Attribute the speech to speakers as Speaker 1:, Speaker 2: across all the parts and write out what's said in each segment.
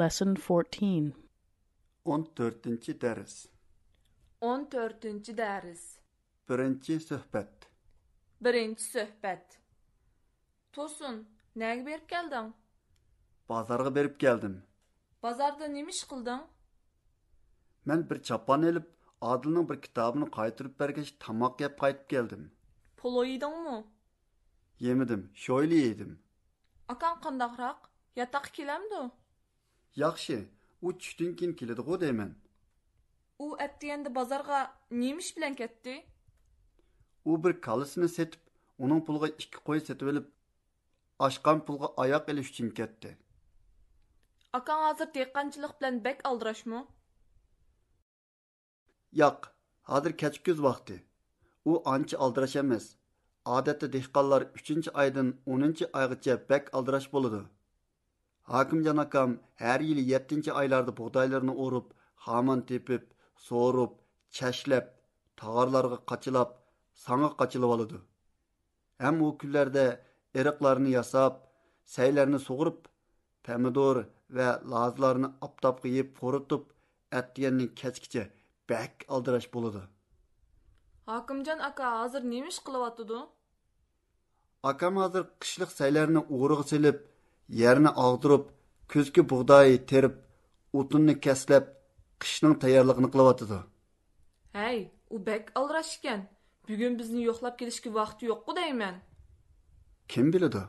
Speaker 1: Lesson 14.
Speaker 2: 14-нче дәрес.
Speaker 3: 14-нче дәрес.
Speaker 2: 1-нче сөхбәт.
Speaker 3: 1-нче сөһбәт. Tosun, näge berip geldiň?
Speaker 2: Базарга берип келдим.
Speaker 3: Bazarda nämiş qıldyň?
Speaker 2: Мен бир чапан алып, Адилның бир китабын кайтырып бергәч тамак яп кайтып келдим.
Speaker 3: Polo ýeýdiňmi?
Speaker 2: Yemidim, şöyle yedim.
Speaker 3: Akan qandaqraq? Ýataq kelämdi?
Speaker 2: Яхшы, у түштен кин келеді ғой деймін.
Speaker 3: U ätdiýende bazarga nämiş bilen ketdi?
Speaker 2: U bir kalısını setip, onun pulga iki koy setip elip, aşkan pulga ayak eli üçün ketdi.
Speaker 3: Akan hazır dehqançylyk bilen bek aldıraşmy?
Speaker 2: Yak, hazır keçküz vakti. U ançı aldıraş emez. Adette dehkallar 3. aydan 10. aygıca bek aldıraş boludu. Hakim Canakam her yili 7. aylarda buğdaylarını orup, haman tepip, soğurup, çeşlep, tağarlarga kaçılap, sana kaçılıp alıdı. Hem o küllerde eriklarini yasap, seylerini soğurup, pomidor ve lazlarını aptap yiyip korutup, ettiyenini keçkice bek aldıraş buludu.
Speaker 3: Hakimjan aka hazır nämiş qılıp atydy?
Speaker 2: Akam hazır kışlık seylerini uğruğa silip, yerini ağdırıp, küzgü buğdayı terip, utununu keslep, kışının tayarlığını kılavatıdı.
Speaker 3: Hey, u bek aldıraş eken. Bugün bizni yoqlap gelişki wagty ýokku deýmen.
Speaker 2: Kim bilidi?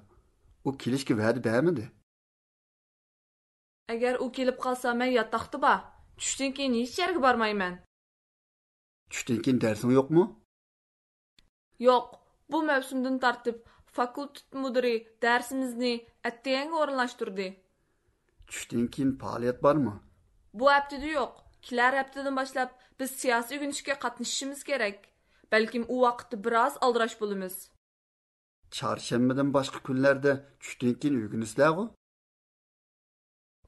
Speaker 2: O kilişki verdi beğenmedi.
Speaker 3: Agar u kelip qalsa men ýataqda ba. Tüşden keýin hiç ýerge barmaýman.
Speaker 2: Çütinkin dersin yok mu?
Speaker 3: Yo'q, bu mavsumdan tartib fakultet mudiri darsimizni attiyanga o'rinlashtirdi.
Speaker 2: Çütinkin faaliyet var mı?
Speaker 3: Bu aptida yo'q. Kelar aptidan boshlab biz siyosiy o'rganishga qatnashishimiz kerak. Balkim u vaqtda biroz aldirash bo'lamiz.
Speaker 2: Çarşembadan başka günlerde çütinkin uygunuslar o.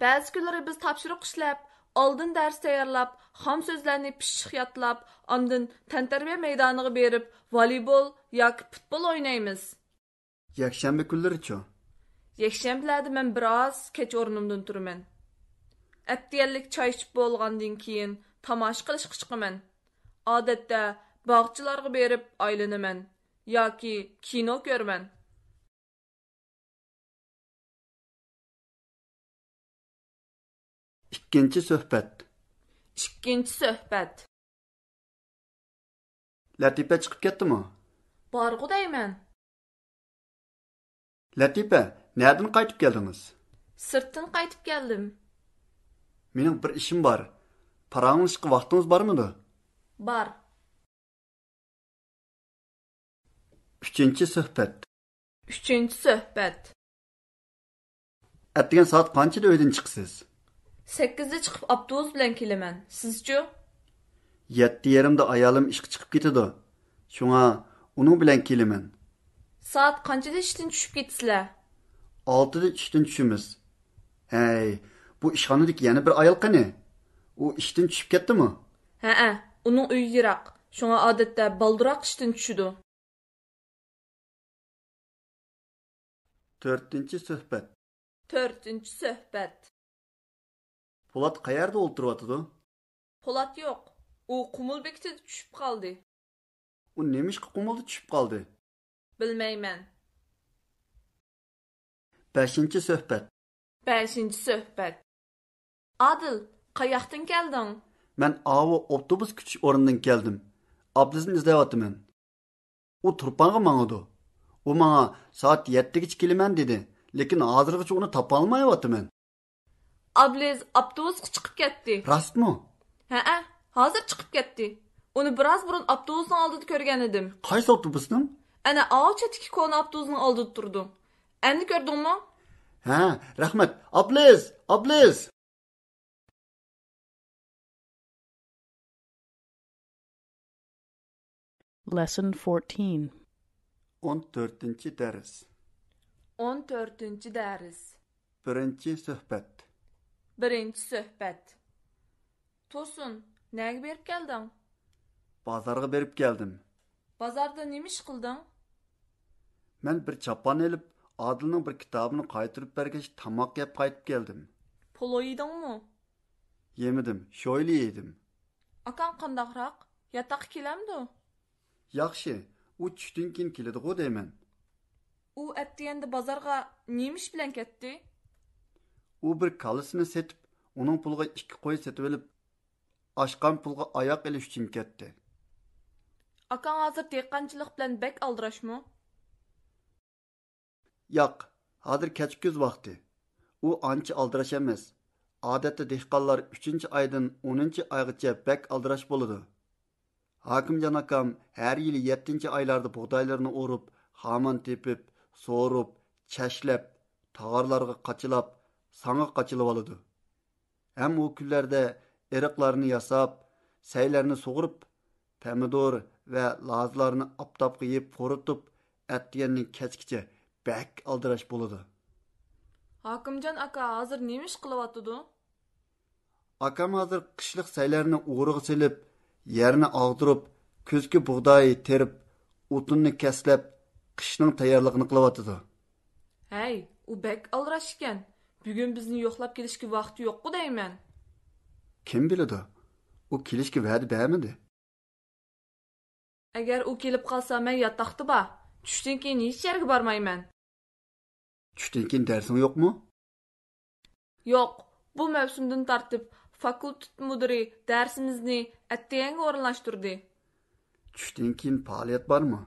Speaker 3: Ba'zi kunlari biz topshiriq ishlab, oldin dars tayyorlab, xom so'zlarni pishiq yodlab, ondan tantarbiya maydoniga berib, voleybol yoki futbol o'ynaymiz.
Speaker 2: Yakşembe günleri ço.
Speaker 3: Yakshanbalarda men biroz kech o'rnimdan turaman. Attiyalik choy ichib bo'lgandan keyin tamosh qilishga chiqaman. Odatda bog'chilarga berib aylanaman yoki kino ko'raman.
Speaker 2: İkinci söhbet.
Speaker 3: Ikkinchi suhbat.
Speaker 2: Latife çıkıp gitti mi?
Speaker 3: Borg'u deyman.
Speaker 2: Latife, nereden kaytıp geldiniz?
Speaker 3: Sirtdan qaytib keldim.
Speaker 2: Benim bir işim var. Paranın işki vaktiniz var mıydı?
Speaker 3: Bar.
Speaker 2: Üçüncü söhbet.
Speaker 3: Uchinchi suhbat.
Speaker 2: Ertegen saat kançıda öğleden çıksız?
Speaker 3: 8da chiqib avtobus bilan kelaman. Sizchi?
Speaker 2: Yetti yerimde ayalım işki çıkıp gitidi. Şuna onun bilen kelimen.
Speaker 3: Soat qanchada ishdan tushib ketsizlar?
Speaker 2: Altıda işten düşümüz. Hey, bu işhanedeki yeni bir ayal kani. O işten düşüp gitti mi?
Speaker 3: Ha, uning uyi yiroq. Shunga odatda balduroq ishdan tushadi.
Speaker 2: Törtüncü söhbet.
Speaker 3: 4-nji söhbət.
Speaker 2: Polat kayarda oturuvatıdı.
Speaker 3: Polat yo'q. U Qumul bekitida tushib qoldi.
Speaker 2: O neymiş ki kumulda düşüp kaldı.
Speaker 3: Bilmayman.
Speaker 2: Beşinci söhbet.
Speaker 3: 5-nji söhbət. Adil, qayoqdan keldin?
Speaker 2: Ben avu otobüs küçük orundan geldim. Ablizini izlevatı ben. O turpanı mağadı. O bana saat yettik hiç kelimen dedi. Lekin hazırgıç onu tapalmayıvatı ben.
Speaker 3: Abliz avtobusga chiqib ketdi.
Speaker 2: Rast mı?
Speaker 3: Ha, hozir chiqib ketdi. Uni biroz burun avtobusning oldida ko'rgan edim.
Speaker 2: Qaysi avtobusning?
Speaker 3: Ana Avchatiki koni avtobusning oldida turdi. Endi ko'rdingmi?
Speaker 2: Ha, rahmat. Abliz, abliz.
Speaker 1: Lesson 14.
Speaker 2: 14-нче дәрес.
Speaker 3: 14-nji dars.
Speaker 2: 1-нче сөхбәт.
Speaker 3: Birinci söhbət. Tosun, nəyə berib gəldin?
Speaker 2: Базарга берип келдим.
Speaker 3: Bazarda nämiş qıldın?
Speaker 2: Мен бир чапан алып, Адилның бир китабын кайтырып бергәч тамак яп кайтып келдим.
Speaker 3: Polo yedingmi?
Speaker 2: Yemedim, şöyle yedim.
Speaker 3: Akang qandaqraq? Yataq kelamdi?
Speaker 2: Yaxshi, u tushdan keyin keladi-ku deyman.
Speaker 3: U aptiyanda bozorga nemish bilan ketdi?
Speaker 2: U bir kalisini setib, uning pulga ikki qo'y setib olib, oshgan pulga oyoq ilish uchun ketdi.
Speaker 3: Akang hozir dehqonchilik bilan bek aldirashmi?
Speaker 2: Yo'q, hozir kechkuz vaqti. U ancha aldirash emas. Odatda dehqonlar 3-oydan 10-oygacha bek aldirash bo'ladi. Hokimjon akam har yili 7-oylarda bug'doylarni o'rib, xamon tepib, so'rib, chashlab, tog'arlarga qachilab, sanga qachilib oladi. Ham u kunlarda eriqlarni yasab, saylarni sug'urib, pomidor va lazlarni aptobga yeb qo'ritib, atdiyanning kechgacha bak aldirash bo'ladi.
Speaker 3: Hakimjon aka hozir nemish qilyotdi?
Speaker 2: Akam hozir qishliq saylarni o'rig'i silib, yerni og'dirib, kuzgi bug'doy terib, o'tinni kaslab, qishning tayyorlig'ini qilyotdi.
Speaker 3: Hey, u bek aldirash ekan. Bugun bizni yo'qlab kelishga vaqti yo'q-ku deyman.
Speaker 2: Kim biladi? U kelishga va'da bermadi.
Speaker 3: Agar u kelib qolsa, men yotoqda ba. Tushdan keyin hech yerga bormayman.
Speaker 2: Tushdan keyin darsing yo'qmi?
Speaker 3: Yo'q, bu mavsumdan tartib fakultet mudiri darsimizni attiyanga o'rinlashtirdi.
Speaker 2: Tushdan keyin faoliyat bormi?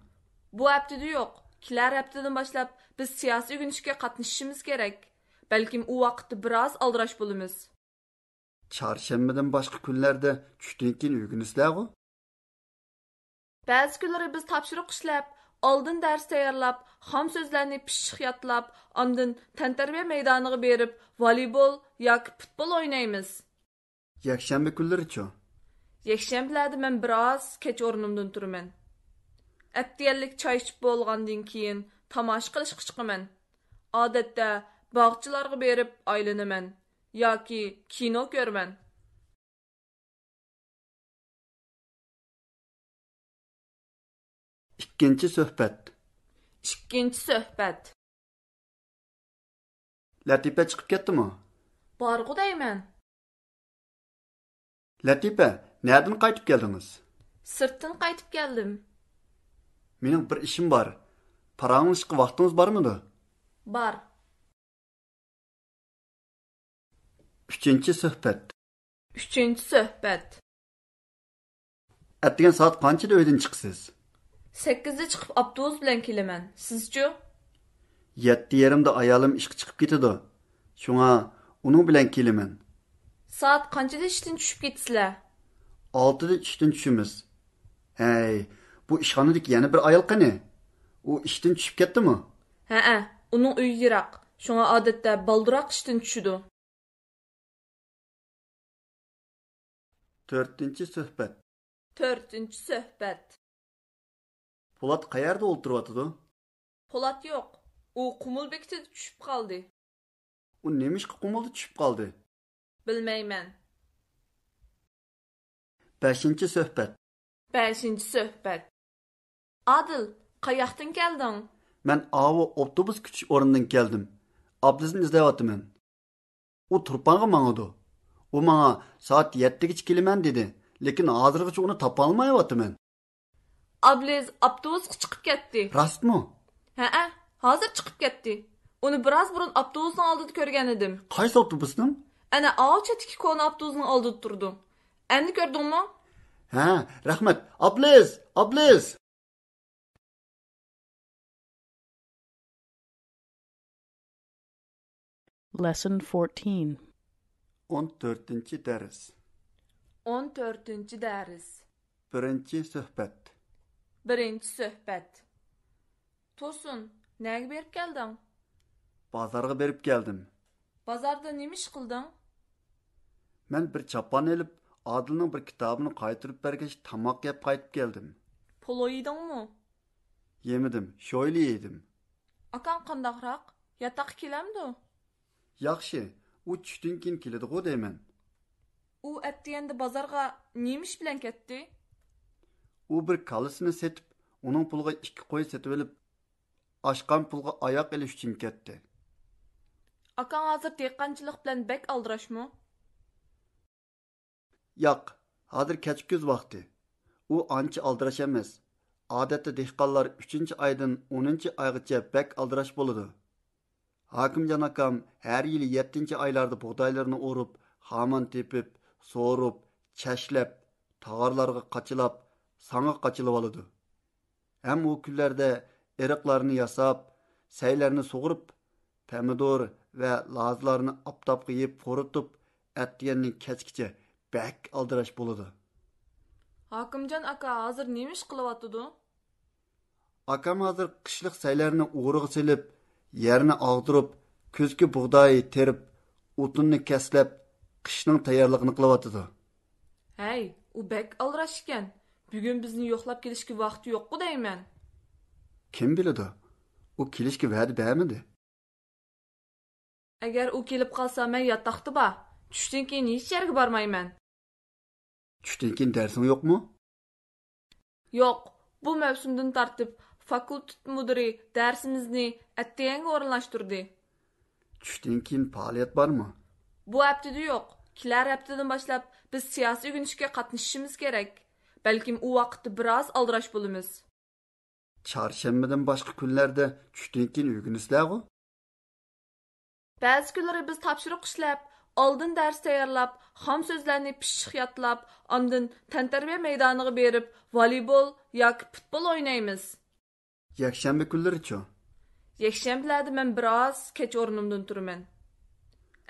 Speaker 3: Bu haftada yo'q. Kelar haftadan boshlab biz siyosiy o'rganishga qatnashishimiz kerak. Balkim u vaqtda biroz aldirash bo'lamiz.
Speaker 2: Çarşambadan boshqa kunlarda tushdan keyin o'rganisizlar-ku?
Speaker 3: Ba'zi kunlari biz topshiriq ishlab, oldin dars tayyorlab, xom so'zlarni pishiq yodlab, ondan tantarbiya maydoniga berib, voleybol yoki futbol o'ynaymiz.
Speaker 2: Yakshanba kunlari-chu?
Speaker 3: Yakshanbalarda men biroz kech o'rnimdan turaman. Aptiyalik choy ichib bo'lgandan keyin tomosha qilishga chiqaman. Odatda bog'chilarga berib aylanaman yoki kino ko'raman.
Speaker 2: Ikkinchi suhbat.
Speaker 3: Ikkinchi suhbat.
Speaker 2: Latifa chiqib ketdimi?
Speaker 3: Borg'u deyman.
Speaker 2: Latifa, nadan qaytib keldingiz?
Speaker 3: Sirtdan qaytib keldim.
Speaker 2: Mening bir ishim bor. Paranglashga vaqtingiz bormidi?
Speaker 3: Bar.
Speaker 2: Uchinchi suhbat.
Speaker 3: Üçüncü söhbət.
Speaker 2: Atgan soat qanchada uydan chiqsiz?
Speaker 3: 8-də çıxıb avtobus bilan kelimən. Sizcə?
Speaker 2: 7:30da ayolim ishga chiqib ketadi. Shunga uning bilan kelaman.
Speaker 3: Saat qancada işdən düşüb getsizlər?
Speaker 2: 6da ishdan tushamiz. Hey, bu ishxonadagi yana bir ayol qani? U ishdan tushib ketdimi?
Speaker 3: Hə-ə, Hə, onun uyu yıraq. Şuna adətdə baldıraq işdən düşüdü.
Speaker 2: 4-suhbat.
Speaker 3: 4-cü söhbət.
Speaker 2: Po'lat qayerda o'tiryotidi?
Speaker 3: Polat yox. O Qumulbekdə düşüb qaldı.
Speaker 2: U nemishqa qumulda tushib qoldi?
Speaker 3: Bilməyəm.
Speaker 2: 5-suhbat.
Speaker 3: 5-ci söhbət. Adil, qayaqdan gəldin?
Speaker 2: Men avu otobus küçük orundan geldim. Ablasını izleyotimen. O turpanga mağadı. O mağa saat yettiğe kelimen dedi. Lekin hazırgıç onu tapalmayotimen.
Speaker 3: Abliz avtobusga chiqib ketdi.
Speaker 2: Rast mı?
Speaker 3: Hə-ə, Hə, hazır chiqib ketdi. Uni biroz burun avtobusning oldida ko'rgan edim.
Speaker 2: Kays otobusnun?
Speaker 3: Ana ağaç etki konu abduzun aldı durdu. Endi gördün mü?
Speaker 2: Ha, rahmet. Ablas, ablas.
Speaker 1: Lesson 14.
Speaker 2: 14. ders.
Speaker 3: 14. dərs.
Speaker 2: 1. söhbət.
Speaker 3: 1. söhbət. Tosun, nəyə berib gəldin?
Speaker 2: Bazarga berip geldim.
Speaker 3: Bazarda nemiş qıldın?
Speaker 2: Men bir çapan elip Adil'nin bir kitabını kaytırıp bergeç tamak yap kaytıp geldim.
Speaker 3: Polo yedin mi?
Speaker 2: Yemedim, şöyle yedim.
Speaker 3: Akan qandaqraq, yataq keləmdi?
Speaker 2: Yaxşı, u tüştün kin kilidi go deymen.
Speaker 3: U əttiyəndə bazarga nemiş bilən getdi?
Speaker 2: u bir kalisini setib uning pulga ikki qo'y setib olib oshgan pulga oyoq ilish uchun ketdi
Speaker 3: Akang hazır dehqançılık bilen bek aldırashmı?
Speaker 2: Yo'q, hozir kechki vaqti. U ancha aldirash emas. Odatda dehqonlar 3-oydan 10-oygacha bak aldirash bo'ladi. Hokimjon akam har yili 7-oylarda bug'doylarni o'rib, xamon tepib, so'rib, chashlab, tog'arlarga qochilab, sanga qochilib oladi. Ham u kunlarda eriqlarni yasab, saylarni sug'urib, pomidor va lozlarni optob qiyib, qo'ritib, atdiyanning kechgacha bək aldırış buludu.
Speaker 3: Hakimcan aka hazır nemiş qılıvatıdı?
Speaker 2: Akam hazır qışlıq səylərini uğruq silib, yerini ağdırıb, küzgü buğdayı terib, utununu kəsləb, qışının tayarlığını qılıvatıdı.
Speaker 3: Hey, u bek aldıraş iken. Bugün bizni yoxlab gelişki vaxtı yoxku deymen.
Speaker 2: Kim bilidu? O kilişki vədi bəmidi?
Speaker 3: Əgər u kelib qalsa mən yataqdı ba. Düşdən keyin heç yerə barmayman.
Speaker 2: Çütinkin dərsin yoxmu?
Speaker 3: Yo'q, bu mavsumdan tartib fakultet mudiri darsimizni attiyanga o'rinlashtirdi.
Speaker 2: Çütinkin fəaliyyət barmı?
Speaker 3: Bu haftada yo'q. Kelar haftadan boshlab biz siyosiy o'rganishga qatnashishimiz kerak. Balkim u vaqtda biroz aldirash bo'lamiz.
Speaker 2: Çarşembədən başqa günlərdə çütinkin ügünüsləğu?
Speaker 3: Ba'zi kunlari biz topshiriq ishlab, oldin dars tayyorlab, xom so'zlarni pishiq yodlab, ondan tantarbiya maydoniga berib, voleybol yoki futbol o'ynaymiz.
Speaker 2: Yəkşənbə günləri ço?
Speaker 3: Yakshanbalarda men biroz kech o'rnimdan turaman.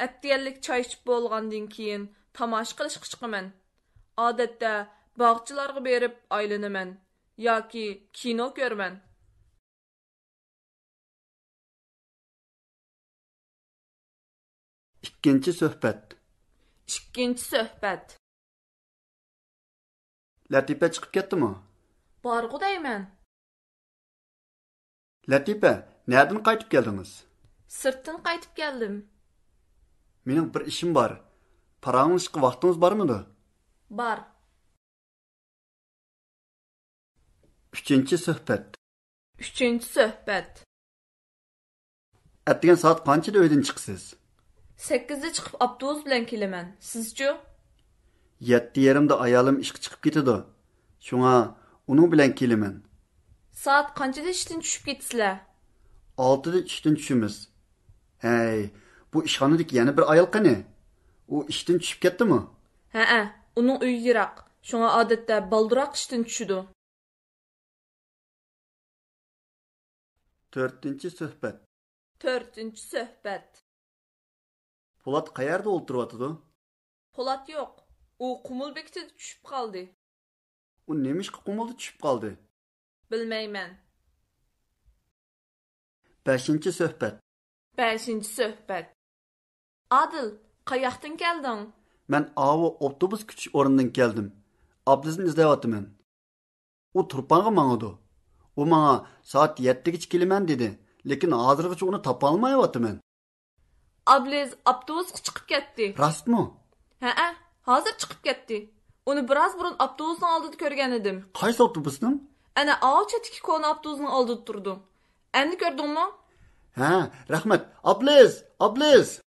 Speaker 3: Atdiyanlik choy ichib bo'lgandan keyin tomosha qilishga chiqaman. Odatda bog'chilarga berib aylanaman yoki kino ko'raman.
Speaker 2: İkinci söhbət.
Speaker 3: Ikkinchi suhbat.
Speaker 2: Latipə çıxıb getdi mi?
Speaker 3: Borg'u deyman.
Speaker 2: Latipə, nədən qayıtıb gəldiniz?
Speaker 3: Sirtdan qaytib keldim.
Speaker 2: Mənim bir işim var. Paranız çıxı vaxtınız barmıdı?
Speaker 3: Bor.
Speaker 2: Üçüncü söhbət.
Speaker 3: Uchinchi suhbat.
Speaker 2: Ətdigan saat qancıda öydün çıxsız?
Speaker 3: 8da chiqib avtobus bilan kelaman. Sizchi?
Speaker 2: 7.30 da ayolim ishga chiqib ketadi. Shunga uning bilan kelaman.
Speaker 3: Soat qanchada ishdan tushib ketasizlar?
Speaker 2: 6da ishdan tushamiz. Hey, bu ishxonadagi yana bir ayol qani? U ishdan tushib ketdimi?
Speaker 3: Ha, uning uyi yiroq. Shunga odatda balduroq ishdan tushadi.
Speaker 2: 4-suhbat.
Speaker 3: 4-suhbat.
Speaker 2: Po'lat qayerda o'tiryotdi?
Speaker 3: Po'lat yo'q. U Qumul bekatida tushib qoldi.
Speaker 2: U nemishqa qumulda tushib qoldi?
Speaker 3: Bilmayman.
Speaker 2: 5-suhbat.
Speaker 3: 5-suhbat. Adil, qayoqdan kelding?
Speaker 2: Men avi avtobus kutish o'rnidan keldim. Abdizni izlayapman. U Turpan'a mangadi. U menga soat 7gacha kelaman dedi, lekin hozirgacha uni topolmayapman.
Speaker 3: Abliz avtobusga chiqib ketdi.
Speaker 2: Rostmi?
Speaker 3: Ha, hozir chiqib ketdi. Uni biroz burun avtobusning oldida ko'rgan edim.
Speaker 2: Qaysi avtobusning?
Speaker 3: Ana avchatiki koni avtobusning oldida turdi. Endi ko'rdingmi?
Speaker 2: Ha, rahmat. Ablis, ablis.